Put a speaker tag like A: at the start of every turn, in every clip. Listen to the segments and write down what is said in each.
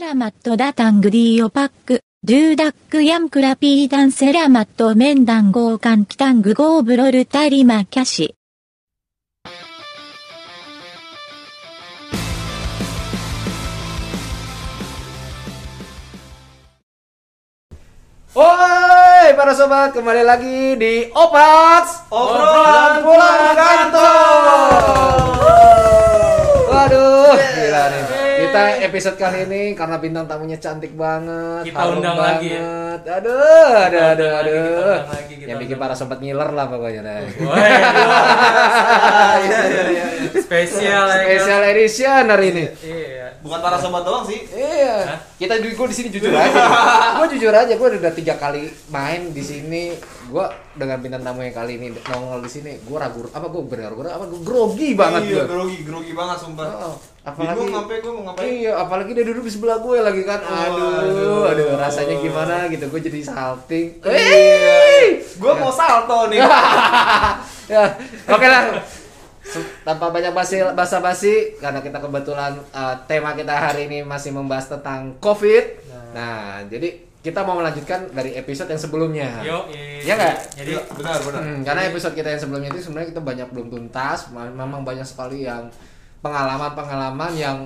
A: ラマットダタングディオパック、ドゥーダックヤンクラピーダンセラマットメンダンゴーカンキタングゴーブロルタリマキャシ。
B: Woi, para sobat, kembali lagi di Opats
C: Obrolan Pulang Kantor.
B: Waduh, gila nih. Kita episode kali ini karena bintang tamunya cantik banget,
C: Kita
B: harum
C: undang lagi ya?
B: banget. Aduh, aduh, aduh,
C: Kita undang lagi,
B: aduh.
C: kita undang lagi, kita
B: Yang bikin
C: undang
B: para sobat ngiler lah pokoknya. Nah.
C: Woi, Iya, spesial ya. kan?
B: Special edition hari ini.
C: Iya.
D: Bukan para sobat doang sih.
B: Iya. Kita di gue di sini jujur
D: Iya.
B: aja. gue jujur aja, gue udah tiga kali main di sini. Gue dengan bintang tamu yang kali ini nongol di sini, gue ragu apa gue benar-benar apa gue grogi banget
D: Iya,
B: gue.
D: grogi, grogi banget sumpah.
B: Oh, apalagi
D: Bingung sampai gue mau ngapain.
B: Iya, apalagi dia duduk di sebelah gue lagi kan. Aduh,
D: aduh.
B: aduh, rasanya gimana gitu. Gue jadi salting.
D: Iya.
B: Eh.
D: Gue mau salto nih.
B: ya, oke lah. Se- Tanpa banyak basi basa-basi karena kita kebetulan eh, tema kita hari ini masih membahas tentang Covid. Nah, jadi kita mau melanjutkan dari episode yang sebelumnya.
C: Yo,
B: Iya nggak?
C: Jadi
D: benar, benar.
B: Hmm, karena episode kita yang sebelumnya itu sebenarnya kita banyak belum tuntas, ma- memang banyak sekali yang pengalaman-pengalaman yang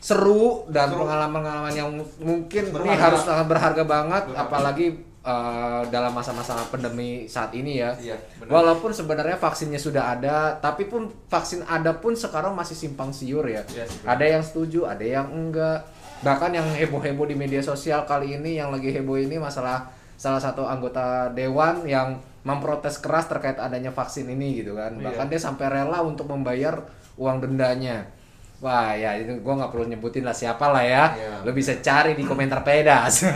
B: seru dan
D: Seru.
B: pengalaman-pengalaman yang mu- mungkin ini
D: Berharga.
B: harus sangat berharga banget
D: Berharga.
B: apalagi eh, dalam masa-masa pandemi saat ini ya.
D: Iya, benar.
B: Walaupun sebenarnya vaksinnya sudah ada, tapi pun vaksin ada pun sekarang masih simpang siur ya.
D: Iya, sih, benar.
B: ada yang setuju, ada yang enggak. Bahkan yang heboh-heboh di media sosial kali ini yang lagi heboh ini masalah salah satu anggota dewan yang memprotes keras terkait adanya vaksin ini gitu kan. Bahkan dia sampai rela untuk membayar uang dendanya. Wah ya itu gua nggak perlu nyebutin lah siapa lah ya.
D: Iya.
B: Lo bisa cari di komentar pedas.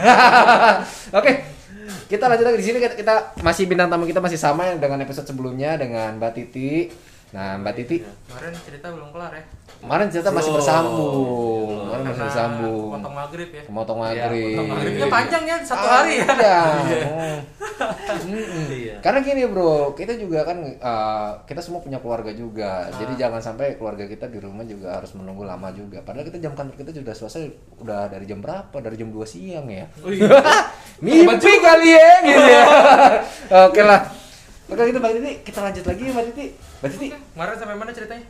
B: Oke, kita lanjut lagi di sini kita, kita masih bintang tamu kita masih sama yang dengan episode sebelumnya dengan Mbak Titi. Nah Mbak Titi
C: kemarin cerita belum kelar ya.
B: kemarin ternyata masih bersambung, kemarin masih bersambung,
C: Potong Iya, maghrib ya.
B: memotong maghrib.
C: Maghribnya panjang ya, satu hari ya. Iya.
B: Iya. Mm-mm. Karena gini bro, kita juga kan uh, kita semua punya keluarga juga.
C: Ah.
B: Jadi jangan sampai keluarga kita di rumah juga harus menunggu lama juga. Padahal kita jam kantor kita sudah selesai udah dari jam berapa? Dari jam 2 siang ya.
C: Oh iya.
B: Mimpi kali ya gitu ya. Oke lah. Oke gitu Mbak Titi, kita lanjut lagi ya, Mbak Titi. Mbak Titi,
C: Kemarin sampai mana ceritanya?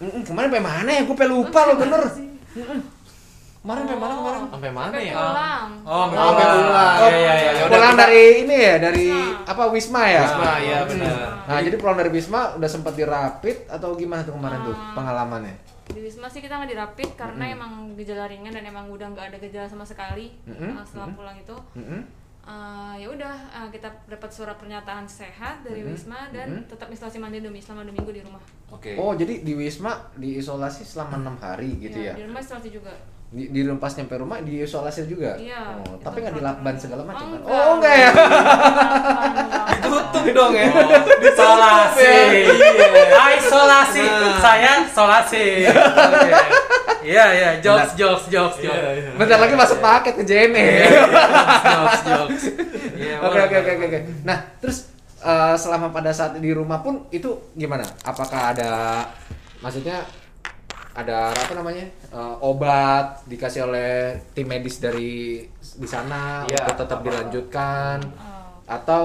B: mm-mm, kemarin sampai mana ya? Gue lupa loh bener. Mm-mm. Kemarin sampai mana kemarin?
C: Sampai mana
E: Sampai
C: ya?
E: pulang.
C: Oh,
B: Oh,
C: sampai pulang.
B: Oh,
C: Iya, iya, iya. Ya udah,
B: Pulang
C: kita-
B: dari ini ya, dari apa Wisma ya?
C: Wisma, iya,
B: Hmm.
C: benar.
B: Nah, jadi pulang dari Wisma udah sempat dirapit atau gimana tuh kemarin tuh pengalamannya?
E: Di Wisma sih kita nggak dirapit karena emang gejala ringan dan emang udah nggak ada gejala sama sekali
B: Mm-mm.
E: uh, setelah pulang itu.
B: Mm-mm.
E: Uh, ya udah uh, kita dapat surat pernyataan sehat dari Wisma dan tetap isolasi mandiri demi selama dua minggu di rumah.
D: Oke.
B: Oh, jadi di Wisma diisolasi selama enam hari gitu ya?
E: Iya, Di rumah isolasi juga.
B: Di, di rumah pas nyampe rumah diisolasi juga?
E: Iya.
B: Oh,
E: Itu
B: tapi nggak
E: protokol.
B: dilakban segala macam kan?
E: enggak.
B: Oh, enggak ya?
D: Tutup dong ya.
C: Isolasi. Iya. Ah, Isolasi. Saya solasi. Oke. Iya, iya, jokes, jokes, jokes, jokes.
B: Bentar lagi masuk
C: Iya.
B: paket ke E. JNE.
C: jokes, jokes. Iya,
B: Oke,
C: boleh,
B: oke, oke,
C: boleh.
B: oke. oke. Nah, terus eh, selama pada saat di rumah pun itu gimana? Apakah ada maksudnya ada apa namanya? eh, obat dikasih oleh tim medis dari di sana
C: Iya,
B: untuk tetap dilanjutkan
E: Oh.
B: atau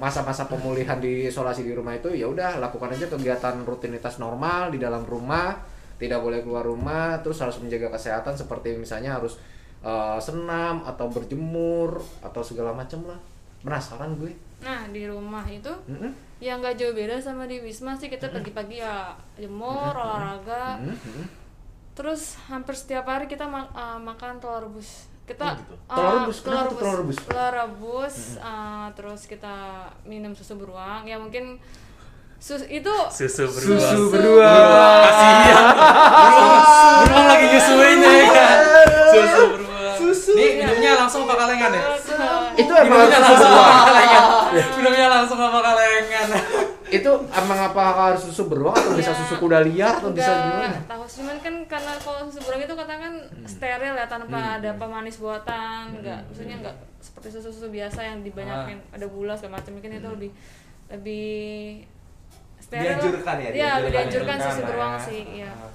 B: masa-masa pemulihan di isolasi di rumah itu ya udah lakukan aja kegiatan rutinitas normal di dalam rumah tidak boleh keluar rumah terus harus menjaga kesehatan seperti misalnya harus eh, senam atau berjemur atau segala macam lah penasaran gue
E: Nah di rumah itu
C: Mm.
B: Mm-mm.
E: yang nggak jauh beda sama di Wisma sih kita pagi-pagi ya jemur, olahraga,
B: Mm-mm.
E: Terus hampir setiap hari kita ma- eh, makan telur rebus. Kita eh,
B: Oh, gitu. Telur rebus? Kenapa tuh telur rebus? Mm-hmm.
E: Telur rebus, eh, terus kita minum susu beruang. Ya mungkin sus itu
C: Susu
B: Susu
C: beruang.
B: beruang.
C: Kasihan. Beruang, beruang lagi nyusuin ya kan. Susu beruang. Susu. Nih minumnya langsung apa kalengan
E: eh,
C: ya?
B: itu emang harus
C: Minumnya langsung
B: susu
C: apa
B: beruang
C: kalengan? Minumnya langsung apa kalengan?
B: itu emang apa harus susu beruang atau bisa
E: Ya.
B: susu kuda liar atau Iya, bisa gimana Hmm.
E: Enggak tahu cuman kan karena kalau susu beruang itu katanya kan steril ya tanpa ada pemanis buatan, enggak maksudnya enggak seperti susu-susu biasa yang dibanyakin
B: Ah.
E: ada gula segala macam mungkin
B: Hmm.
E: itu lebih lebih steril.
D: Dianjurkan ya,
E: Iya,
D: dianjurkan. ya,
E: dianjurkan susu
D: Dianjurkan,
E: beruang
D: ya.
E: sih, iya.
D: Ah.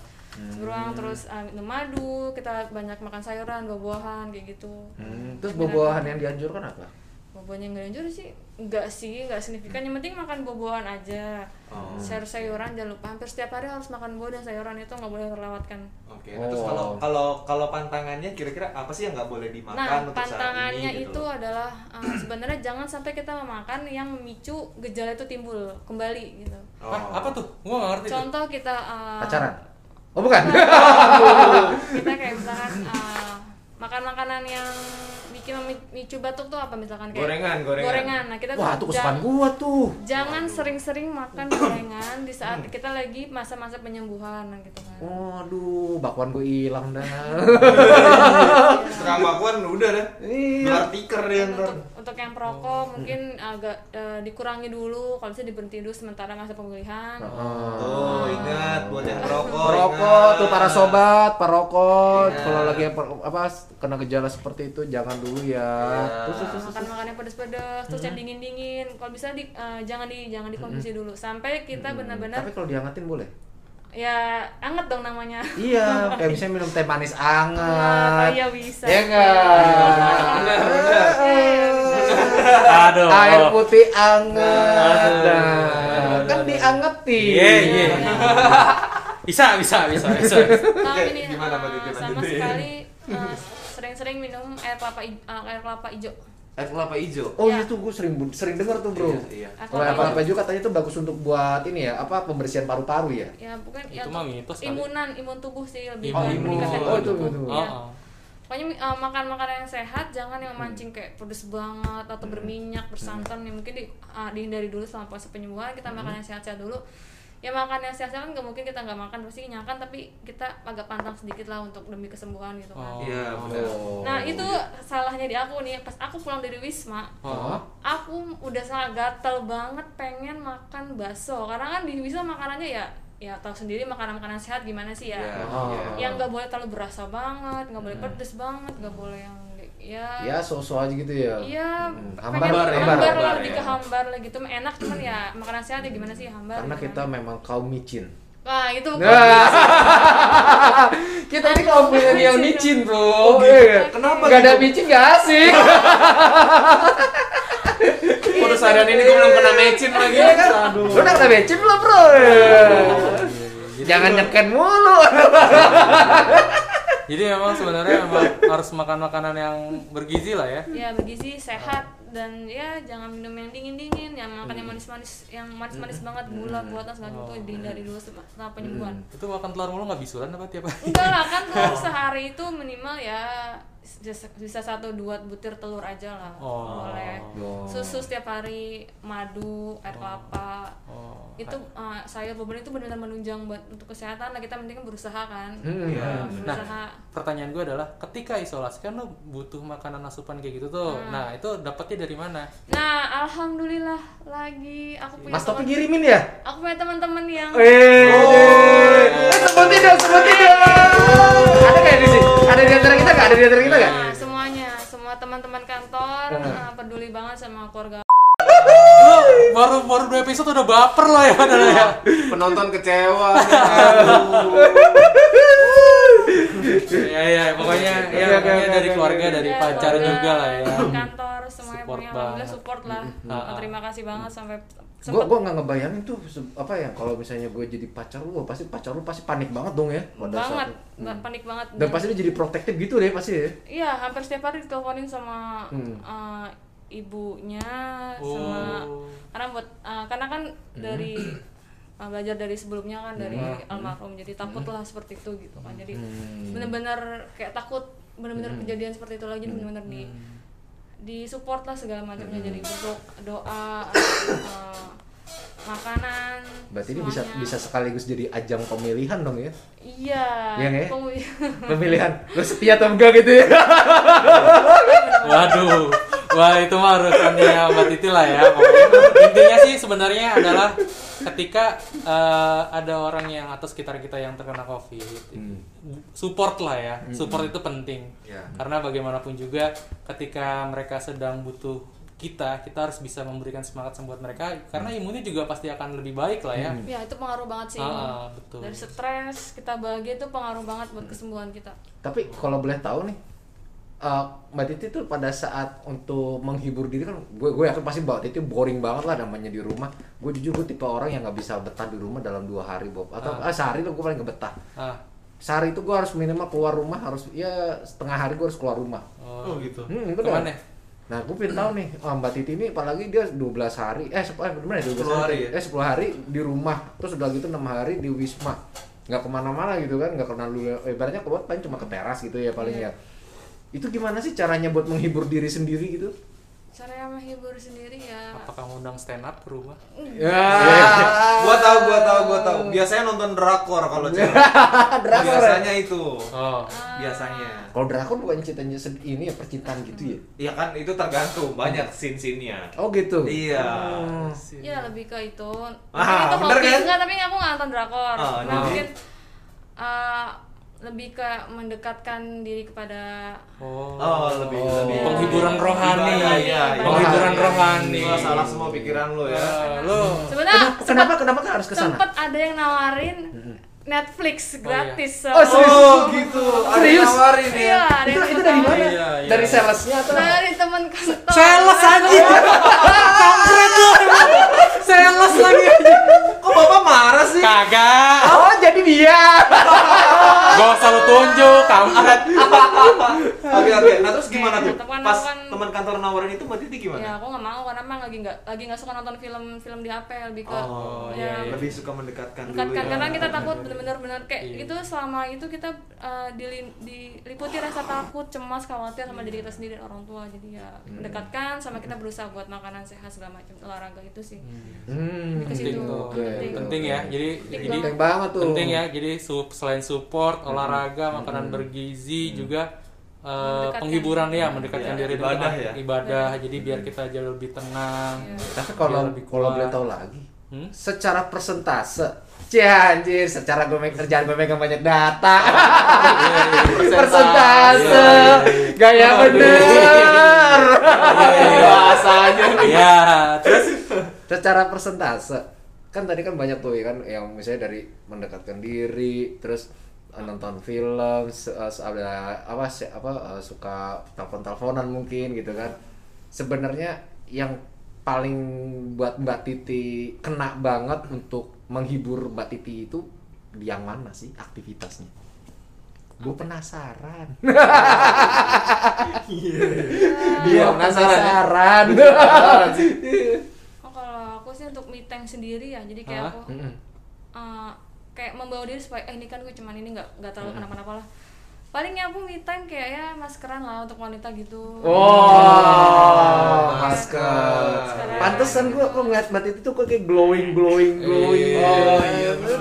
E: beruang terus ah, minum madu kita banyak makan sayuran buah-buahan kayak gitu
B: Hmm, Terus buah-buahan yang dianjurkan apa?
E: buah-buahnya nggak anjur sih nggak sih nggak signifikan yang penting makan buah-buahan aja
D: Oh.
E: sayur sayuran jangan lupa hampir setiap hari harus makan buah dan sayuran itu nggak boleh terlewatkan
D: Oke, nah terus
B: Oh.
D: kalau kalau kalau pantangannya kira-kira apa sih yang nggak boleh dimakan
E: nah
D: untuk saat
E: pantangannya
D: ini? gitu
E: itu
D: loh?
E: adalah eh, sebenarnya jangan sampai kita memakan yang memicu gejala itu timbul kembali gitu
D: Oh.
C: Hah, apa tuh? Gua nggak ngerti. tuh.
E: contoh kita eh,
B: Pacaran? Oh bukan?
E: kita kayak misalkan eh, makan makanan yang bikin memicu batuk tuh apa misalkan kayak
D: Gorengan, gorengan.
E: nah kita tuh
B: Wah itu
E: jangan-
B: kesukaan gua tuh.
E: jangan sering-sering makan gorengan di saat kita lagi masa-masa penyembuhan gitu kan
D: Oh.
B: Waduh, bakwan gua hilang dah.
D: Setengah bakwan kan udah deh. Gelar tiker deh
E: Dan
D: Iya, ntar. Oh.
E: untuk untuk yang perokok mungkin agak eh, dikurangi dulu kalau bisa diberhenti dulu sementara masa pemilihan
D: Oh. Tuh, ingat buat yang perokok.
B: Ah. Perokok
D: ingat.
B: tuh para sobat, perokok.
E: Iya.
D: Ingat.
B: Kalau lagi apa, apa, kena gejala seperti itu jangan dulu ya. Terus, terus, terus.
E: Iya. makan makanan pedas-pedas terus yang dingin-dingin kalau bisa di, eh, jangan di jangan dikonsumsi dulu sampai kita benar-benar
B: Tapi kalau diangetin boleh.
E: ya anget dong namanya
B: Iya, kayak misalnya minum teh manis
E: Ah,
B: anget.
E: iya bisa
B: Ya enggak.
C: Aduh.
B: Air putih anget.
C: Aduh.
B: Nah, kan diangetin.
C: Iya, iya. Bisa, bisa, bisa, bisa.
E: Nah,
D: iya. Oke,
E: ini
D: gimana,
E: eh,
D: Mbak Titi,
E: sama
D: lanjutin.
E: sekali eh, sering-sering minum air kelapa i- eh, air kelapa hijau
D: Air kelapa hijau.
B: Oh
E: Iya.
B: itu gue sering sering dengar tuh bro.
D: Iya, iya.
B: Kalau
E: Air
B: apa
E: kelapa
B: apa juga katanya itu bagus untuk buat ini ya apa pembersihan paru-paru ya.
E: ya bukan
C: Itu
E: ya
C: mah
E: untuk
C: mitos kali.
E: imunan imun tubuh sih lebih
C: Oh,
E: ke
C: imun.
E: meningkatkan
B: Oh, itu
E: tubuh,
B: betul.
E: ya.
C: Oh, Hmm. oh.
E: pokoknya eh, makan makanan yang sehat jangan yang mancing kayak pedes banget atau
C: Hmm.
E: berminyak bersantan ya mungkin di, ah, dihindari dulu selama puasa penyembuhan kita
C: Hmm.
E: makan yang sehat-sehat dulu ya makan yang sehat-sehat kan nggak mungkin kita nggak makan pasti nyakan tapi kita agak pantang sedikit lah untuk demi kesembuhan gitu
C: Oh.
E: kan
D: Iya, benar.
B: Oh.
E: nah itu salahnya di aku nih pas aku pulang dari wisma
B: Iya.
C: Oh.
E: aku udah sangat gatel banget pengen makan bakso karena kan di bisa makanannya ya ya tahu sendiri makanan makanan sehat gimana sih ya
D: Iya,
B: Oh.
D: iya.
E: yang nggak boleh terlalu berasa banget nggak boleh pedes banget nggak boleh yang ya
B: Hmm. Ya so-so aja gitu ya.
E: iya
B: Hmm,
E: pengen
B: hambar, ya?
E: hambar
B: Hambar,
E: lah
D: ya.
E: lebih ke hambar lah gitu enak cuman ya makanan sehat ya gimana sih hambar
B: Karena
E: gitu
B: kita Nah.
E: kan.
B: memang kaum micin.
E: wah itu
B: kita ini kaum milenial micin bro.
C: Gitu.
E: Oh, iya.
B: Kenapa? Gak ada micin gak asik.
C: Udah sadar ini gue belum kena mecin lagi.
B: Iya kan? Lu udah kena micin belum bro? iya. Jangan nyeken mulu.
C: Jadi memang sebenarnya emang harus makan makanan yang bergizi lah ya.
E: ya bergizi sehat dan ya jangan minum yang dingin dingin yang makan
B: Hmm.
E: yang manis manis yang manis manis banget gula buatan segala gitu
B: Oh.
E: dihindari dulu setelah penyembuhan
B: Hmm.
C: Itu makan telur mulu nggak bisulan apa tiap hari?
E: Enggak lah kan telur sehari itu minimal ya bisa- bisa satu dua butir telur aja lah
C: Oh.
E: boleh susu setiap hari madu air kelapa
C: Oh.
E: itu eh, sayur beban itu benar-benar menunjang buat untuk kesehatan lah kita penting kan berusaha kan
B: Hmm.
C: Nah,
E: Ya, berusaha
C: pertanyaan gue adalah ketika isolasi kan lo butuh makanan asupan kayak gitu tuh.
E: Hmm.
C: Nah, itu dapatnya dari mana?
E: nah alhamdulillah lagi aku punya
B: Mas Topi
E: teman
B: kirimin ya?
E: aku punya teman-teman yang
B: Eh, eh, sebutin dong, sebutin dong. Ada nggak di sini? Ada di antara kita nggak? Ada di antara kita nggak?
E: Nah, semuanya semua teman-teman kantor eh, peduli banget sama keluarga
C: Lo baru baru dua episode udah baper lo ya padahal ya.
D: Penonton kecewa.
C: Iya iya, pokoknya ya
B: Oke, oke,
C: pokoknya
B: oke,
C: dari
B: oke,
C: keluarga
B: oke.
C: dari
E: Ya,
C: Iya, pacar
E: keluarga,
C: juga lah ya.
E: kantor semuanya
C: Support
E: punya alhamdulillah
C: banget.
E: support lah
C: Mm.
E: terima kasih banget sampai
B: Gue
E: sempat
B: gue nggak ngebayangin tuh se- apa ya kalau misalnya gue jadi pacar lu, pasti pacar lu pasti panik banget dong ya. pada saat
E: banget
B: itu.
E: ba- panik banget
B: Dan pasti dia jadi protektif gitu deh pasti ya.
E: iya hampir setiap hari diteleponin sama
B: Hmm.
E: eh, ibunya sama
C: Oh.
E: karena buat eh, karena kan
B: Hmm.
E: dari eh, belajar dari sebelumnya kan dari almarhum jadi takut
B: Hmm.
E: lah seperti itu gitu kan jadi bener-bener kayak takut bener-bener
B: Hmm.
E: kejadian seperti itu lagi bener-bener di di support lah segala macamnya
B: Hmm.
E: jadi bentuk doa eh, makanan
B: Berarti ini bisa
E: semuanya.
B: bisa sekaligus jadi ajang pemilihan dong ya.
E: Iya.
B: Iya nggak ya?
E: Pengu-
B: Pemilihan lu setia atau enggak gitu ya.
C: Waduh. Wah, itu mah rekannya Mbak Titi lah ya. pokoknya. Intinya sih sebenarnya adalah ketika eh, ada orang yang atau sekitar kita yang terkena Covid, support lah ya. Support itu penting.
D: Ya.
C: Karena bagaimanapun juga ketika mereka sedang butuh kita kita harus bisa memberikan semangat buat mereka karena imunnya juga pasti akan lebih baik lah ya
E: ya itu pengaruh banget sih
C: Ah, ah, betul
E: dari stres kita bahagia itu pengaruh banget buat kesembuhan kita
B: Tapi kalau boleh tahu nih, eh, Mbak Titi tuh pada saat untuk menghibur diri kan, gue gue yakin pasti Mbak Titi boring banget lah namanya di rumah. Gue jujur gue tipe orang yang nggak bisa betah di rumah dalam dua hari Bob, atau eh, sehari lo gue paling nggak betah.
C: ah
B: Sehari itu gue harus minimal keluar rumah harus ya setengah hari gue harus keluar rumah.
C: oh,
D: Oh gitu.
B: Hmm, benar.
C: kemana
B: Nah, gue pengen tahu nih, ah, Mbak Titi ini apalagi dia 12 hari, eh, sep- eh bener ya, 12
D: 10 hari ya?
B: Eh, 10 hari di rumah, terus udah gitu 6 hari di Wisma. Nggak kemana-mana gitu kan, nggak kenal dulu. Eh, ibaratnya keluar paling cuma ke teras gitu ya paling ya. Itu gimana sih caranya buat menghibur diri sendiri gitu?
E: cara yang menghibur sendiri ya
C: apakah ngundang stand up ke rumah
B: Ya,
D: Gua tahu, gua tahu, gua tahu.
E: Oh.
D: Biasanya nonton drakor kalau cewek.
B: drakor ya?
D: Biasanya itu.
E: Ah.
C: oh
D: Biasanya.
B: Kalau drakor bukan ceritanya sed- ini ya, percintaan gitu ya?
D: Iya kan itu tergantung banyak scene-scene-nya.
B: Oh gitu?
D: Iya.
B: iya.
E: ya lebih ke itu
D: Ah,
E: mungkin itu
D: bener
E: hobi
D: kan?
E: enggak tapi aku nggak nonton drakor
B: Oh,
D: Ah,
E: nah
D: jadi-
E: mungkin eh, lebih ke mendekatkan diri kepada
C: oh,
D: Oh, lebih lebih
C: Penghiburan rohani.
D: Iya, iya.
C: Penghiburan rohani.
D: Wah, salah semua pikiran lo ya.
C: Eh, lo
E: sebenarnya
B: Kenapa kenapa kan harus ke sana?
E: sempet ada yang nawarin Netflix gratis
B: Oh, serius?
D: Oh, gitu. Ada
B: Serius?
D: yang nawarin ya.
E: iya ada
B: Itu,
E: yang
B: itu dari
E: nawarin.
B: mana?
C: Iya, iya.
B: Dari salesnya atau?
E: dari teman kantor
C: Sales anjing. Kampret lu. Sales lagi anjing.
D: Kok Bapak marah sih?
C: Kagak.
B: Oh, jadi dia.
C: Gak usah lu tunjuk, kampret.
D: Oke, oke. Nah, terus gimana tuh?
E: Teman kantor
D: Pas
E: Iya, kan-
D: teman kantor nawarin itu Mbak Titi
E: ya
D: gimana?
E: aku nggak mau karena emang lagi nggak lagi nggak suka nonton film film di HP lebih ke
D: Oh,
E: ya,
D: iya, iya. Lebih suka mendekatkan dulu
E: mendekatkan
D: ya.
E: karena Kan kita takut bener-bener bener kayak itu selama itu kita eh, dilin- diliputi rasa takut cemas khawatir sama diri kita sendiri dan orang tua jadi ya mendekatkan sama kita berusaha buat makanan sehat segala macam olahraga itu sih
B: Hmm,
E: Ke situ.
C: Penting tuh.
E: Oke,
B: oke.
C: Penting ya. Jadi jadi
B: Penting banget tuh.
C: penting ya. Jadi su- selain support, olahraga, makanan bergizi juga eh,
E: Mendekatkan.
C: penghiburan ya, mendekatkan
D: Iya,
C: diri dengan
D: ibadah ya.
C: Ibadah. Jadi biar kita jauh lebih tenang. Iya,
B: Tapi kalau
C: Biar lebih
B: kalau
C: kuat.
B: boleh tahu lagi,
C: Hmm?
B: secara persentase, Cih, anjir, secara gue main kerjaan gue megang banyak data,
C: iya,
B: persentase, ya, gaya bener, bahasanya.
C: Iya, terus
B: Secara persentase, kan tadi kan banyak tuh ya kan, yang misalnya dari mendekatkan diri, terus eh, nonton film, se- eh, se- ada apa se- apa eh, suka telepon teleponan mungkin gitu kan. Sebenarnya yang paling buat Mbak Titi kena banget untuk menghibur Mbak Titi itu yang mana sih aktivitasnya? Gue penasaran. Dia penasaran. penasaran sih.
E: oh kalau aku sih untuk me time sendiri ya jadi kayak
C: Hah?
E: aku eh, kayak membawa diri supaya eh ini kan gue cuman ini nggak nggak terlalu kenapa-napa lah palingnya aku me time kayak ya maskeran lah untuk wanita gitu
B: Oh, masker.
E: Masker.
B: Pantesan gua kok ngeliat Mbak Titi tuh kok kayak glowing glowing glowing.
C: Iya.
B: Oh,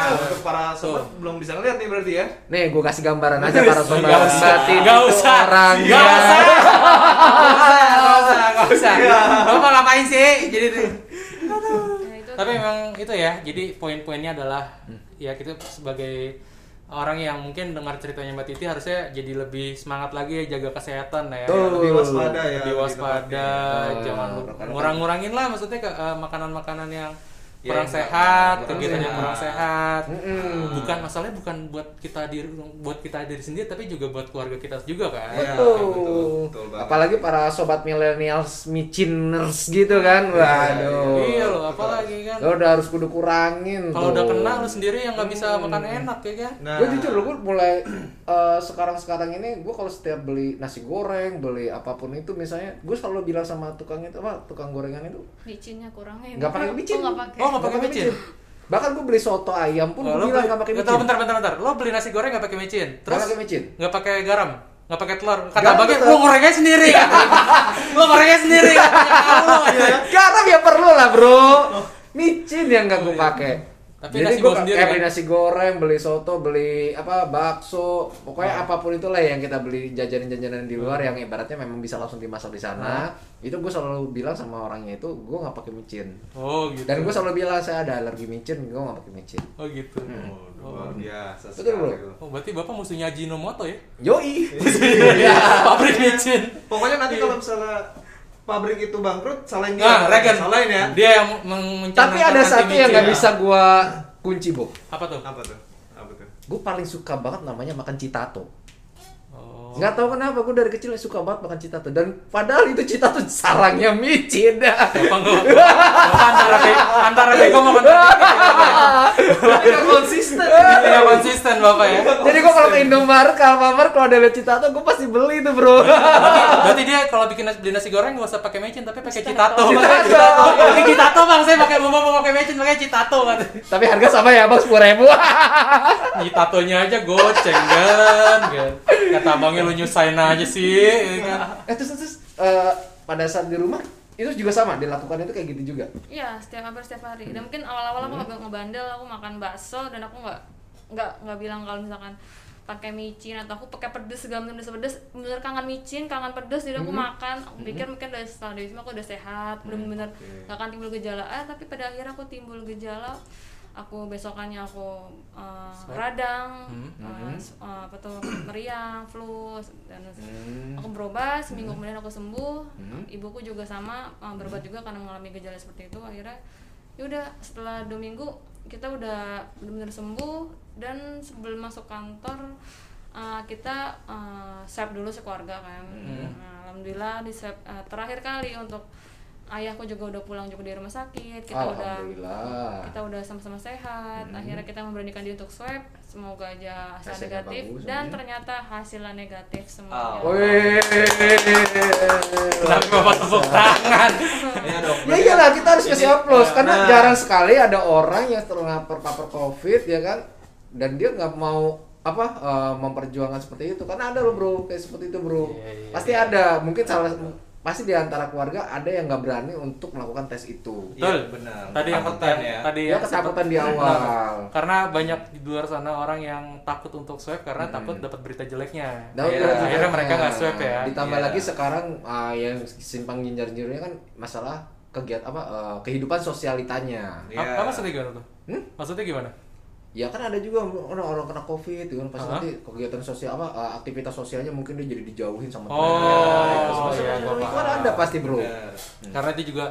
D: Nah, untuk para sobat belum bisa ngeliat nih berarti ya.
B: Nih, gua kasih gambaran aja para sobat
C: Iya, Nggak usah.
B: Mbak Titi
C: Nggak
B: tuh
C: usah. Iya,
B: orangnya.
C: Nggak usah. Nggak usah, nggak usah. Lo mau ngapain sih? Jadi
E: Ya, itu
C: tapi emang itu ya. Jadi poin-poinnya adalah ya kita sebagai orang yang mungkin dengar ceritanya Mbak Titi harusnya jadi lebih semangat lagi ya jaga kesehatan ya.
B: Tuh.
D: Lebih waspada ya.
C: Lebih waspada,
B: Oh,
C: jangan
B: rekan-rekan.
C: ngurang-ngurangin lah maksudnya ke eh, makanan-makanan yang
D: Ya,
C: kurang
D: yang
C: sehat,
D: kurang
C: kegiatan yang
D: sehat.
C: kurang sehat.
B: Mm-mm.
C: Bukan masalahnya bukan buat kita diri buat kita diri sendiri tapi juga buat keluarga kita juga kan.
D: Iya, betul,
B: Tuh.
D: betul banget.
B: Apalagi para sobat millennials miciners gitu kan. Waduh.
C: Iya loh, apalagi kan.
B: Lo udah harus kudu kurangin
C: Kalau
B: tuh.
C: udah kena lu sendiri yang nggak bisa makan enak ya kan.
D: Nah,
B: Gue jujur loh, gue mulai eh, sekarang-sekarang ini gue kalau setiap beli nasi goreng, beli apapun itu misalnya, gue selalu bilang sama tukang itu, apa tukang gorengan itu
E: micinnya kurangin
B: nggak pakai micin.
E: oh, nggak pakai
C: Oh, nggak pakai micin.
B: Bahkan gue beli soto ayam pun
C: Oh,
B: gue bilang nggak pakai
C: nggak
B: micin.
C: tahu, bentar bentar bentar. Lo beli nasi goreng nggak pakai micin. Terus
B: Nggak pakai micin.
C: nggak pakai garam, nggak pakai telur. Kata
B: Garam Iya.
C: abangnya,
B: tetap.
C: lo gorengnya sendiri. lo gorengnya sendiri. katanya, "Tahu lo."
B: Garam ya perlu lah bro. Micin yang nggak gue pakai.
C: Oh. iya. Tapi
B: Jadi
C: nasi
B: gue
C: goreng sendiri
B: kayak beli
C: kan?
B: nasi goreng, beli soto, beli apa bakso,
C: Oh.
B: pokoknya apapun itulah yang kita beli jajanan-jajanan di luar yang ibaratnya memang bisa langsung dimasak di
C: Oh.
B: sana. Itu gue selalu bilang sama orangnya itu gue nggak pakai micin.
C: Oh gitu.
B: Dan gue selalu bilang saya ada alergi micin, gue nggak pakai micin.
C: Oh gitu.
B: Hmm.
D: Oh, luar biasa
B: Betul, bro.
D: sekali.
C: Oh berarti bapak musuhnya Ajinomoto ya? Iya,
B: Yoi.
C: Pabrik micin.
D: Pokoknya nanti kalau misalnya pabrik itu bangkrut, salahin dia.
C: Nah, Regen.
D: Salahin ya.
C: Dia yang meng- mencanangkan
B: Iya. Tapi ada
C: anti
B: satu yang
C: micin. ya? Iya.
B: nggak bisa gua kunci, Bob.
C: Apa tuh?
D: Apa tuh? Apa tuh?
B: Gue paling suka banget namanya makan citato.
C: Oh.
B: Nggak tahu kenapa gue dari kecil suka banget makan citato dan padahal itu citato sarangnya micin.
C: Apa nggak? Apa antara be- antara bego sama
D: Tidak konsisten.
C: tidak konsisten Bapak ya.
B: Jadi gue kalau ke Indomaret, ke Alfamart, kalau ada lihat citato, gue pasti beli itu bro.
C: Berarti dia kalau bikin nasi, beli nasi goreng nggak usah pakai mecin tapi pakai citato.
B: Citato.
C: Citato. Pakai citato Bang, saya pakai mau mau pakai mecin pakai citato kan.
B: Tapi harga sama ya bang, sepuluh ribu.
C: Citatonya aja goceng kan. kan. Kata abangnya lu nyusahin aja sih ya kan.
B: eh, terus terus eh, pada saat di rumah itu juga sama dilakukan itu kayak gitu juga.
E: Iya, setiap hampir setiap hari. Dan mungkin awal-awal aku nggak ngebandel, aku makan bakso dan aku nggak nggak nggak bilang kalau misalkan pakai micin atau aku pakai pedes segala macam pedes pedes bener kangen micin kangen pedes jadi
B: Mm-hmm.
E: aku makan aku pikir mungkin dari setelah dari semua aku udah sehat bener-bener gak akan timbul gejala eh tapi pada akhirnya aku timbul gejala aku besokannya aku eh, radang eh, s- eh, apa tuh meriang flu dan aku berobat seminggu kemudian aku sembuh ibuku juga sama uh, berobat juga karena mengalami gejala seperti itu akhirnya ya udah setelah dua minggu kita udah benar-benar sembuh dan sebelum masuk kantor uh, kita uh, swab dulu sekeluarga kan Nah, alhamdulillah di swab uh, terakhir kali untuk ayahku juga udah pulang juga dari rumah sakit kita udah
B: Alhamdulillah.
E: kita udah sama-sama sehat akhirnya kita memberanikan diri untuk swab semoga aja
B: Hmm.
E: hasil
B: Hasilnya
E: negatif
B: bagus,
E: dan
B: amin. Ah,
E: ternyata hasilnya negatif Ya. semuanya
B: Wih.
C: Tapi Bapak tepuk tangan.
D: Iya dong.
B: Ya iyalah kita harus kasih
C: iya,
B: aplaus karena
D: nah.
B: jarang sekali ada orang yang terkena terpapar covid ya kan dan dia nggak mau apa eh, memperjuangkan seperti itu karena ada loh bro kayak seperti itu bro
C: Iya, iya,
B: pasti ada mungkin salah pasti di antara keluarga ada yang nggak berani untuk melakukan tes itu
D: Iya,
C: Betul.
D: benar.
C: Tadi yang
D: Ketakutan
C: pertanyaan
D: ya.
B: dia
C: Tadi yang
B: Iya, ketakutan di
C: sempat-
B: awal
C: karena banyak di luar sana orang yang takut untuk swab karena takut dapat berita jeleknya.
B: Daun
C: akhirnya,
B: jeruknya.
C: Iya, akhirnya mereka nggak swab ya.
B: Ditambah
D: Iya.
B: lagi sekarang ah, yang simpang jinjar jirunya kan masalah kegiatan apa eh, kehidupan sosialitanya.
D: Iya.
C: Apa maksudnya gimana tuh?
B: Hmm?
C: Maksudnya gimana?
B: Ya kan ada juga orang-orang kena covid, gitu kan pasti
C: Hah?
B: nanti kegiatan sosial apa eh, aktivitas sosialnya mungkin dia jadi dijauhin sama
C: Oh,
B: temennya.
C: iya, gua
B: itu kan
C: paham. Iya.
B: ada pasti bro.
D: Benar.
B: Hmm.
C: Karena itu juga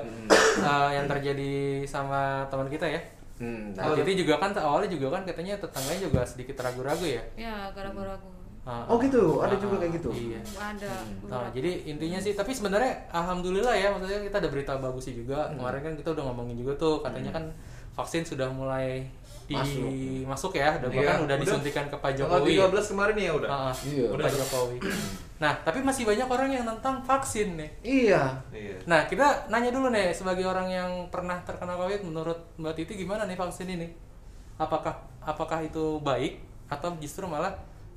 C: eh, yang terjadi sama teman kita ya.
B: Hmm, nah.
C: Nah, jadi juga kan awalnya juga kan katanya tetangganya juga sedikit ragu-ragu ya.
E: ya gara-gara aku
C: Ah,
B: Oh,
C: ah,
B: gitu? Ada
C: ah,
B: juga
C: ah,
B: kayak gitu?
C: Iya.
E: ada
B: Hmm.
C: Nah,
E: beberapa.
C: jadi intinya sih, tapi sebenarnya alhamdulillah ya, maksudnya kita ada berita bagusnya juga.
B: Hmm.
C: Kemarin kan kita udah ngomongin juga tuh, katanya kan vaksin sudah mulai di masuk, ya, dan bahkan udah
D: Iya, udah.
C: disuntikan ke Pak
D: Tanggal
C: Jokowi.
D: 13 kemarin ya udah.
C: Ah, ah,
B: Iya.
C: Pak Jokowi. Nah, tapi masih banyak orang yang tentang vaksin nih.
B: Iya.
D: Iya.
C: Nah, kita nanya dulu nih sebagai orang yang pernah terkena COVID, menurut Mbak Titi gimana nih vaksin ini? Apakah apakah itu baik atau justru malah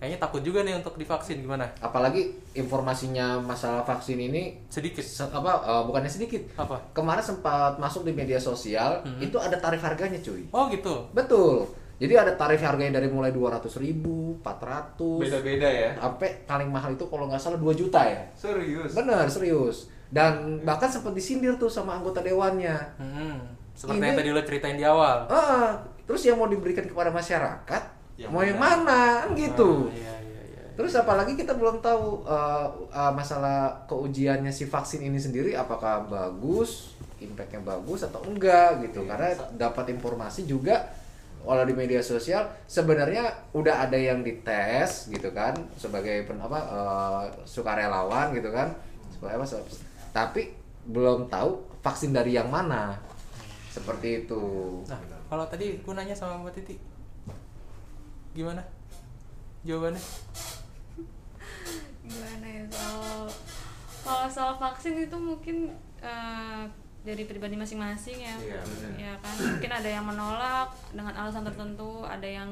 C: kayaknya takut juga nih untuk divaksin gimana?
B: Apalagi informasinya masalah vaksin ini
C: Sedikit
B: se- apa eh, bukannya sedikit.
C: apa?
B: Kemarin sempat masuk di media sosial,
C: Hmm.
B: itu ada tarif harganya cuy.
C: Oh gitu.
B: Betul. Jadi ada tarif harganya dari mulai 200 ribu, 400,
D: Beda-beda ya.
B: sampai paling mahal itu kalau nggak salah 2 juta ya.
D: Serius.
B: Bener, serius. Dan bahkan sempat disindir tuh sama anggota dewannya.
C: Hmm, seperti
B: Ini-
C: yang tadi lo ceritain di awal.
B: Ah, terus yang mau diberikan kepada masyarakat,
D: Yang
B: mau yang
D: mana?
B: mana? Kan gitu.
C: Ah, iya, iya, iya.
B: Terus apalagi kita belum tahu eh, eh, masalah keujiannya si vaksin ini sendiri apakah bagus, impact-nya bagus atau enggak gitu. Karena dapat informasi juga kalau di media sosial sebenarnya udah ada yang dites gitu kan sebagai pen, apa eh, sukarelawan gitu kan. Sebagai apa, se- tapi belum tahu vaksin dari yang mana. Seperti itu.
C: Nah, kalau tadi gue nanya sama Mbak Titi, gimana? Jawabannya?
E: gimana ya soal kalau soal vaksin itu mungkin eh, dari pribadi masing-masing ya
D: Iya, benar.
E: ya kan mungkin ada yang menolak dengan alasan tertentu ada yang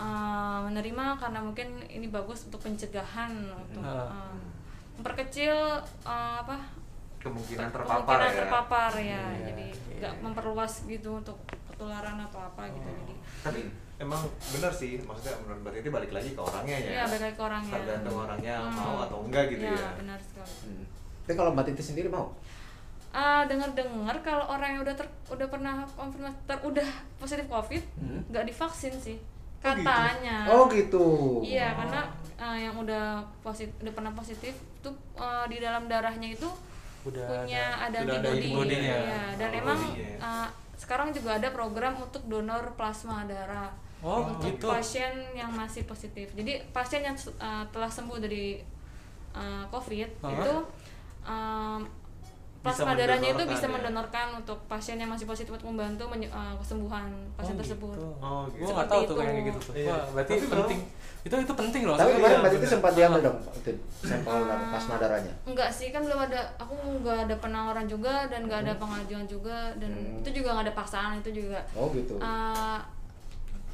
E: eh, menerima karena mungkin ini bagus untuk pencegahan untuk
C: Ah.
E: eh, memperkecil eh, apa
D: Kemungkinan terpapar
E: kemungkinan
D: ya.
E: terpapar ya jadi nggak memperluas gitu untuk ketularan atau apa gitu jadi
D: Tapi emang benar sih, maksudnya menurut Mbak Titi balik lagi ke orangnya ya.
E: Iya, balik lagi ke orangnya.
D: Tergantung orangnya
E: Hmm.
D: mau atau enggak gitu ya.
E: benar sekali
B: Hmm. Tapi kalau Mbak Titi sendiri mau?
E: ah dengar dengar kalau orang yang udah ter, udah pernah konfirmasi ter, udah positif covid nggak divaksin sih katanya
B: Oh gitu.
E: Ah. iya karena eh, yang udah positif udah pernah positif tuh eh, di dalam ah, darahnya itu
C: Udah
E: punya ada
C: sudah ada
E: antibody,
C: antibody-nya.
E: Iya, dan
D: Antibody,
E: emang
D: ya.
E: uh, sekarang juga ada program untuk donor plasma darah
C: Oh,
E: untuk
C: gitu.
E: pasien yang masih positif. Jadi pasien yang uh, telah sembuh dari uh, COVID
C: Hah?
E: itu um, plasma darahnya itu
D: mendonorkan
E: bisa
D: ya?
E: mendonorkan untuk pasien yang masih positif untuk membantu menye- uh, kesembuhan pasien tersebut.
C: Gitu.
D: Oh,
C: Oh,
D: gitu.
C: gitu. Gua nggak tahu
E: Seperti
C: tuh kayak
E: itu.
C: gitu tuh.
D: Iya.
C: Wah, berarti
D: Tapi
C: penting. Itu itu penting loh.
B: Tapi
C: Iya,
B: kemarin berarti itu
C: bener. Ah.
B: sempat diambil dong Pak, itu sampel plasma darahnya.
E: Enggak sih, kan belum ada, aku nggak ada penawaran juga dan nggak ada pengajuan juga dan
B: Hmm.
E: itu juga nggak ada paksaan itu juga.
B: Oh gitu.
C: Ah,
E: Eh,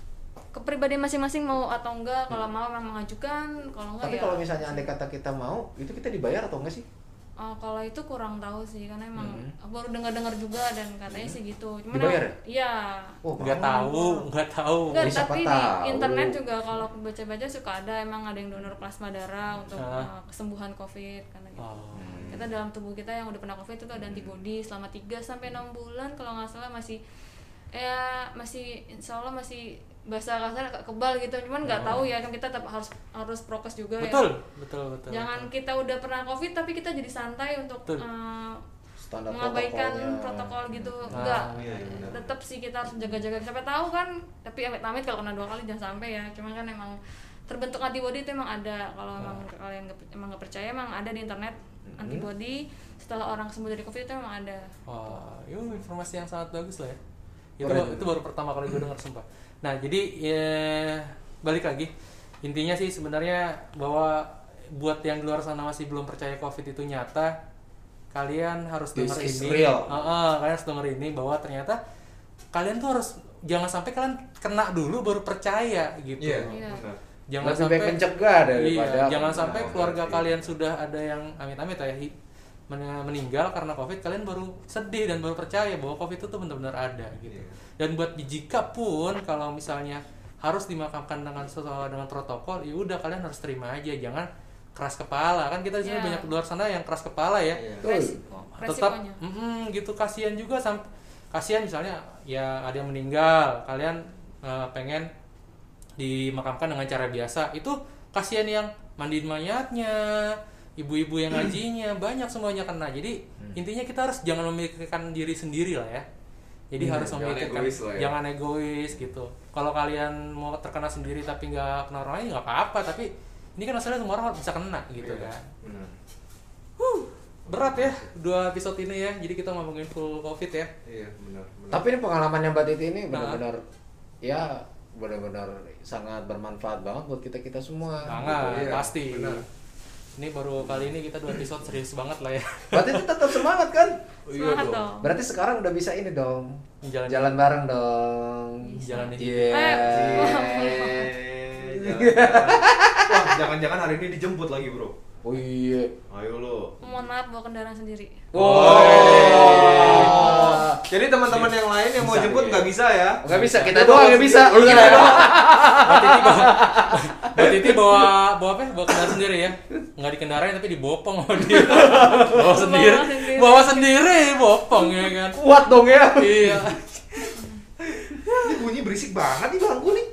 E: kepribadian masing-masing mau atau enggak kalau mau memang mengajukan
C: oh
E: kalau enggak
C: iya.
B: Tapi
E: ya
B: kalau misalnya andai kata kita mau, itu kita dibayar atau enggak sih?
E: eh, kalau itu kurang tahu sih karena emang
B: Hmm.
E: baru dengar-dengar juga dan katanya sih gitu cuman
B: Dibayar
E: emang- iya
B: Oh,
C: nggak
B: mahal.
C: tahu, nggak tahu.
E: Enggak,
B: Ya, siapa
E: tapi di
B: tahu.
E: internet juga kalau aku baca-baca suka ada emang ada yang donor plasma darah untuk
C: Ah.
E: eh, kesembuhan covid karena gitu.
C: Oh.
E: kita dalam tubuh kita yang udah pernah covid itu ada antibody selama 3 sampai 6 bulan kalau nggak salah masih ya masih insya Allah masih bahasa kasar agak kebal gitu cuman nggak tahu ya kan kita tetap harus harus prokes juga
C: Betul,
E: ya
C: betul, betul.
E: jangan kita udah pernah covid tapi kita jadi santai untuk
C: Betul.
E: eh,
B: Standar
E: mengabaikan
B: protokolnya.
E: protokol gitu
C: Ah,
E: enggak
D: iya, iya, benar.
E: tetap sih kita harus jaga-jaga siapa tahu kan tapi amit-amit kalau kena dua kali jangan sampai ya cuman kan emang terbentuk antibody itu emang ada kalau emang kalian nggak- emang nggak percaya emang ada di internet antibody setelah orang sembuh dari covid itu emang ada
C: Wah, itu informasi yang sangat bagus lah ya. Itu
B: Keren.
C: itu baru pertama kali gue dengar sumpah. Nah, jadi ya, balik lagi. Intinya sih sebenarnya bahwa buat yang di luar sana masih belum percaya Covid itu nyata, kalian harus
B: This
C: dengar
B: is
C: ini.
B: real.
C: Heeh, kalian harus dengar ini bahwa ternyata kalian tuh harus jangan sampai kalian kena dulu baru percaya gitu.
D: Iya,
E: Iya.
D: benar.
B: Gitu.
C: Jangan
B: Lebih
C: sampai
B: baik mencegah daripada
C: Iya, jangan sampai
D: Nah,
C: keluarga
D: berarti.
C: kalian sudah ada yang amit-amit ya hi- men- meninggal karena covid kalian baru sedih dan baru percaya bahwa covid itu tuh benar-benar ada gitu
D: Iya.
C: dan buat jika pun kalau misalnya harus dimakamkan dengan sesuai dengan protokol ya udah kalian harus terima aja jangan keras kepala kan kita di sini
E: Iya.
C: banyak di luar sana yang keras kepala ya
D: Iya.
B: Betul.
E: resiko
C: tetap
E: resikonya
C: mm, gitu kasihan juga sam kasihan misalnya ya ada yang meninggal kalian eh, pengen dimakamkan dengan cara biasa itu kasihan yang mandiin mayatnya ibu-ibu yang ngajinya banyak semuanya kena jadi
D: Hmm.
C: intinya kita harus jangan memikirkan diri sendiri lah ya jadi harus
D: Hmm, jangan
C: memikirkan
D: egois lah ya.
C: jangan egois gitu kalau kalian mau terkena sendiri tapi nggak kena orang lain nggak apa-apa tapi ini kan asalnya semua orang bisa kena gitu
D: Iya.
C: kan
D: Benar.
C: berat ya dua episode ini ya jadi kita ngomongin full covid ya
D: Iya, benar. benar.
B: Tapi ini pengalamannya Mbak Titi ini benar-benar
C: Ah.
B: ya benar-benar sangat bermanfaat banget buat kita kita semua.
C: banget
D: iya,
C: pasti
D: benar.
C: ini baru kali ini kita dua episode serius banget lah ya
B: Mbak Titi tetap semangat kan?
D: Oh, iya
E: semangat
D: dong.
E: dong
B: Berarti sekarang udah bisa ini dong.
C: Jalan-
B: Jalan bareng dong. Iya.
C: Jalan dikit.
D: Iya,
B: Yeah.
D: Eh, jangan- Wah, jangan-jangan hari ini dijemput lagi, Bro.
B: Oh iya.
D: Ayo lo.
E: mohon maaf bawa kendaraan sendiri
B: Wah.
D: Jadi teman-teman yang lain yang mau
C: Oh. Bisa,
D: jemput
C: iya.
D: nggak bisa ya?
B: Gak bisa, kita doang yang bisa. Iya.
D: Lu
B: Kita doang.
C: Mbak Titi bawa Mbak Titi bawa bawa apa ya? bawa kendaraan sendiri ya nggak dikendarain tapi dibopong sama dia bawa sendiri
E: sendiri.
C: bawa sendiri bopong ya kan
B: Kuat dong ya.
C: iya
D: Ini bunyi berisik banget nih bangku nih.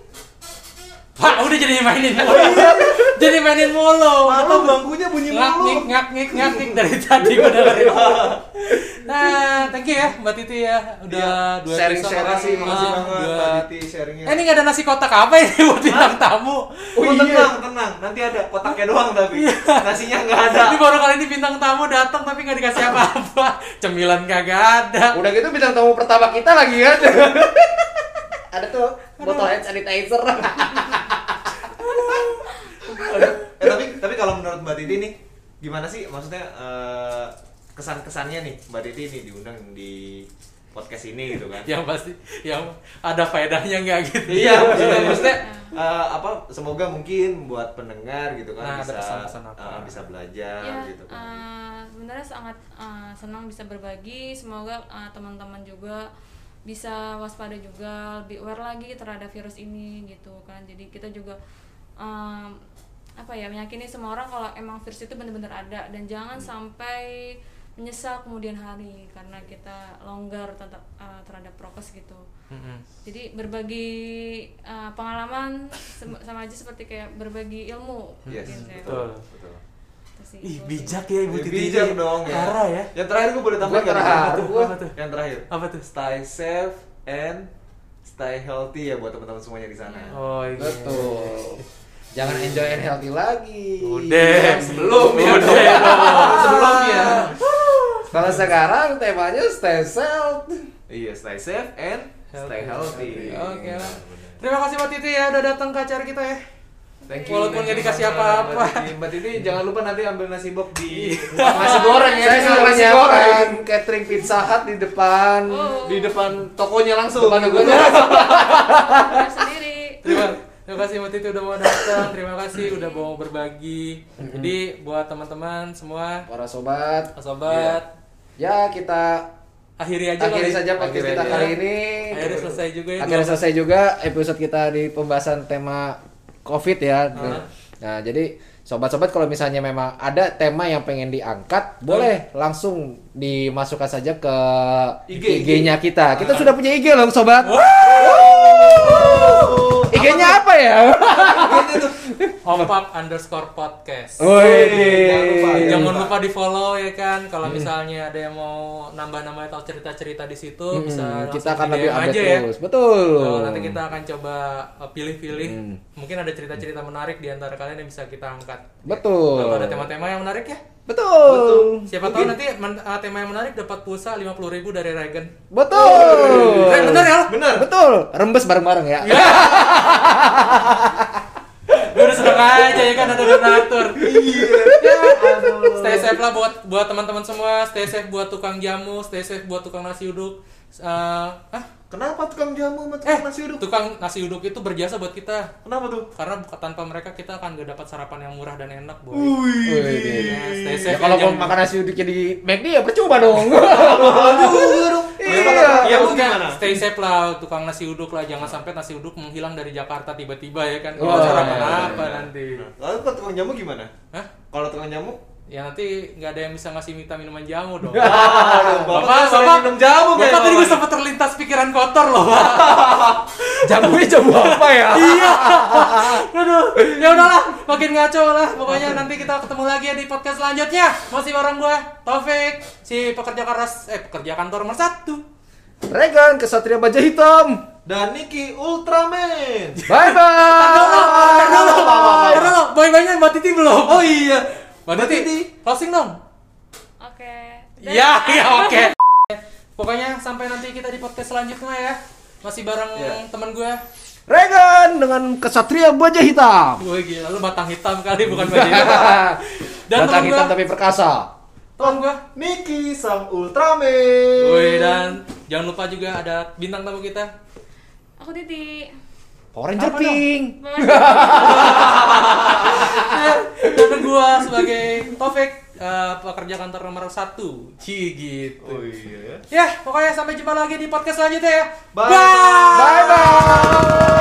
C: pak udah jadi mainin mulu jadi mainin mulu
D: Oh, iya. Malu bangkunya bunyi
C: Oh, ngak ngik
D: mulu.
C: ngak ngik ngak ngik dari tadi gue dengerin nah thank you ya mbak Titi ya udah dua
B: sharing-
C: episode.
D: Terima kasih, Iya, makasih
C: Ah,
D: banget
C: dua-
D: Mbak Diti sharingnya.
C: eh ini nggak ada nasi kotak apa ini buat bintang tamu
D: Oh,
C: iya.
D: tenang, tenang. Nanti ada kotaknya doang tapi nasinya nggak ada.
C: ini baru kali ini bintang tamu datang tapi nggak dikasih apa-apa cemilan kagak ada
B: Udah gitu bintang tamu pertama kita lagi kan. Ada tuh botol hand sanitizer.
D: Eh, tapi tapi kalau menurut Mbak Titi nih gimana sih maksudnya eh, kesan-kesannya nih Mbak Titi nih diundang di podcast ini gitu kan?
C: yang Ya, pasti yang ada faedahnya nggak gitu
D: Iya, maksudnya, maksudnya eh, apa? Semoga mungkin buat pendengar gitu kan
C: Nah, ada
D: bisa
C: pesan-pesan apa?
D: eh, bisa belajar
E: ya
D: gitu kan.
E: eh, sebenarnya sangat eh, senang bisa berbagi semoga eh, teman-teman juga bisa waspada juga lebih aware lagi terhadap virus ini gitu kan jadi kita juga em, apa ya meyakini semua orang kalau emang virus itu benar-benar ada dan jangan
D: Hmm.
E: sampai menyesal kemudian hari karena kita longgar tetap eh, terhadap prokes gitu
D: Hmm.
C: Mm-mm.
E: jadi berbagi eh, pengalaman sem- sama aja seperti kayak berbagi ilmu
D: Yes,
E: mungkin kayak.
D: betul,
C: Betul.
D: betul.
E: Itu sih,
C: Ih
E: itu sih.
C: bijak ya ibu
D: Ya,
C: Titi.
D: bijak dong ya.
C: Parah ya.
D: Yang terakhir gue boleh tambahin
B: Gua
D: nggak nih?
B: terharu
D: Apa tuh?
B: gua.
D: Apa tuh? Yang terakhir.
C: Apa tuh?
D: Stay safe and stay healthy ya buat teman-teman semuanya di sana.
C: Oh iya.
B: Betul. Jangan enjoy and healthy lagi.
C: Udah.
B: Sebelum ya.
C: Udah ya. dong. Sebelumnya.
B: Kalau sekarang temanya stay self.
D: Iya, stay safe and stay healthy.
C: Oke lah. Terima kasih Mbak Titi ya udah datang ke acara kita ya.
D: Thank
C: Walaupun
D: thank
C: nggak dikasih
D: Mbak Titi.
C: apa-apa.
D: Mbak Titi jangan lupa nanti ambil nasi bok di
B: Masih goreng ya.
D: Saya
B: Saya
D: suruh
B: sudah
D: nasi
B: nyiapkan catering pizza hut di depan.
E: Oh.
D: di depan tokonya langsung.
B: Depan
D: gitu.
B: tokonya.
E: Bayar sendiri.
C: Terima, terima kasih Mbak Titi udah mau datang. Terima kasih udah mau berbagi.
B: Mhm.
C: Jadi buat teman-teman semua,
B: Para sobat,
C: sobat,
B: ya kita
C: akhiri aja
B: akhiri
C: kali.
B: saja podcast
D: Akhiri
B: kita
D: aja.
B: kali ini.
C: Akhirnya selesai juga ya.
B: Akhirnya selesai juga episode kita di pembahasan tema COVID ya. Nah, jadi sobat-sobat kalau misalnya memang ada tema yang pengen diangkat, boleh langsung dimasukkan saja ke
D: IG.
B: IG-nya kita. Kita sudah punya IG loh, sobat. IG-nya apa ya?
C: Opap Gitu underscore podcast.
B: Oh,
D: jangan lupa,
B: Woi.
C: Jangan lupa di follow ya kan. Kalau
B: Mhm.
C: misalnya ada yang mau nambah-nambah atau cerita-cerita di situ bisa
B: Hmm,
C: langsung
B: kita akan
C: di
B: lebih
C: DM
B: update
C: aja ya.
B: terus. Betul. Hmm.
C: Tuh, nanti kita akan coba eh, pilih-pilih. Mungkin ada cerita-cerita menarik di antara kalian yang bisa kita angkat.
B: Betul.
C: Kalau ada tema-tema yang menarik ya.
B: Betul.
C: Siapa tahu nanti men- eh, tema yang menarik dapat pulsa 50.000 ribu dari Regen.
B: Betul.
C: Eh, bener Iya. ya?
D: Bener.
B: Betul. Rembes bareng-bareng ya.
C: Gue udah seneng aja ya kan ada donatur.
B: Iya.
C: Ya, aduh. Stay safe lah buat buat teman-teman semua. Stay safe buat tukang jamu. Stay safe buat tukang nasi uduk. Eh, ah,
D: Kenapa tukang jamu sama
C: eh
D: tukang nasi uduk?
C: tukang nasi uduk itu berjasa buat kita.
D: Kenapa tuh?
C: Karena bu- tanpa mereka kita akan gak dapat sarapan yang murah dan enak, boy.
B: Wih.
C: Ya, stay
B: Ya,
C: safe.
B: kalau mau
C: ya, jangan-
B: makan nasi uduknya di McD ya percuma dong.
D: Iya.
C: Ya,
D: Iya,
C: maksudnya
D: gimana?
C: stay safe lah tukang nasi uduk lah jangan sampai nasi uduk menghilang dari Jakarta tiba-tiba ya kan
B: Oh,
C: kalau
B: iya,
C: sarapan
B: iya,
C: apa nanti
D: Lalu kalau tukang jamu gimana?
C: Hah?
D: Kalau tukang jamu?
C: ya nanti nggak ada yang bisa ngasih minta minuman jamu dong
D: Ah, Bapak,
C: Bapak,
D: sering
C: bapak,
D: minum jamu
C: bapak
D: kayaknya,
C: tadi gue
D: Bapak.
C: sempat terlintas pikiran kotor loh, Pak.
B: Jamunya jamu apa ya?
C: iya. Aduh, ya udahlah, makin ngaco lah. Pokoknya nanti kita ketemu lagi ya di podcast selanjutnya. Masih bareng gue, Taufik, si pekerja keras, eh pekerja kantor nomor satu.
B: Regan Kesatria Baja Hitam.
D: Dan Niki Ultraman.
B: Bye bye.
C: Karena lo, karena lo, boy boynya Mbak Titi belum. Oh iya, Mbak Titi, closing dong.
E: Oke. Dadah.
C: Iya, iya oke. Pokoknya sampai nanti kita di podcast selanjutnya ya. Masih bareng
D: Iya.
C: temen gue.
B: Regan dengan Kesatria Baja Hitam.
C: Gue gila, lu batang hitam kali bukan baju hitam.
B: Batang
C: Dan temen
B: hitam
C: gua-
B: tapi perkasa.
C: Tolong gue.
D: Niki sang Ultraman.
C: Woi dan jangan lupa juga ada bintang tamu kita.
E: Aku Titi.
B: Power Ranger
C: Apa dong?
B: Pink.
C: Dan gue sebagai Taufik eh, pekerja kantor nomor satu. Ci gitu.
D: Oh iya.
C: Ya, pokoknya sampai jumpa lagi di podcast selanjutnya ya.
D: Bye.
B: Bye bye.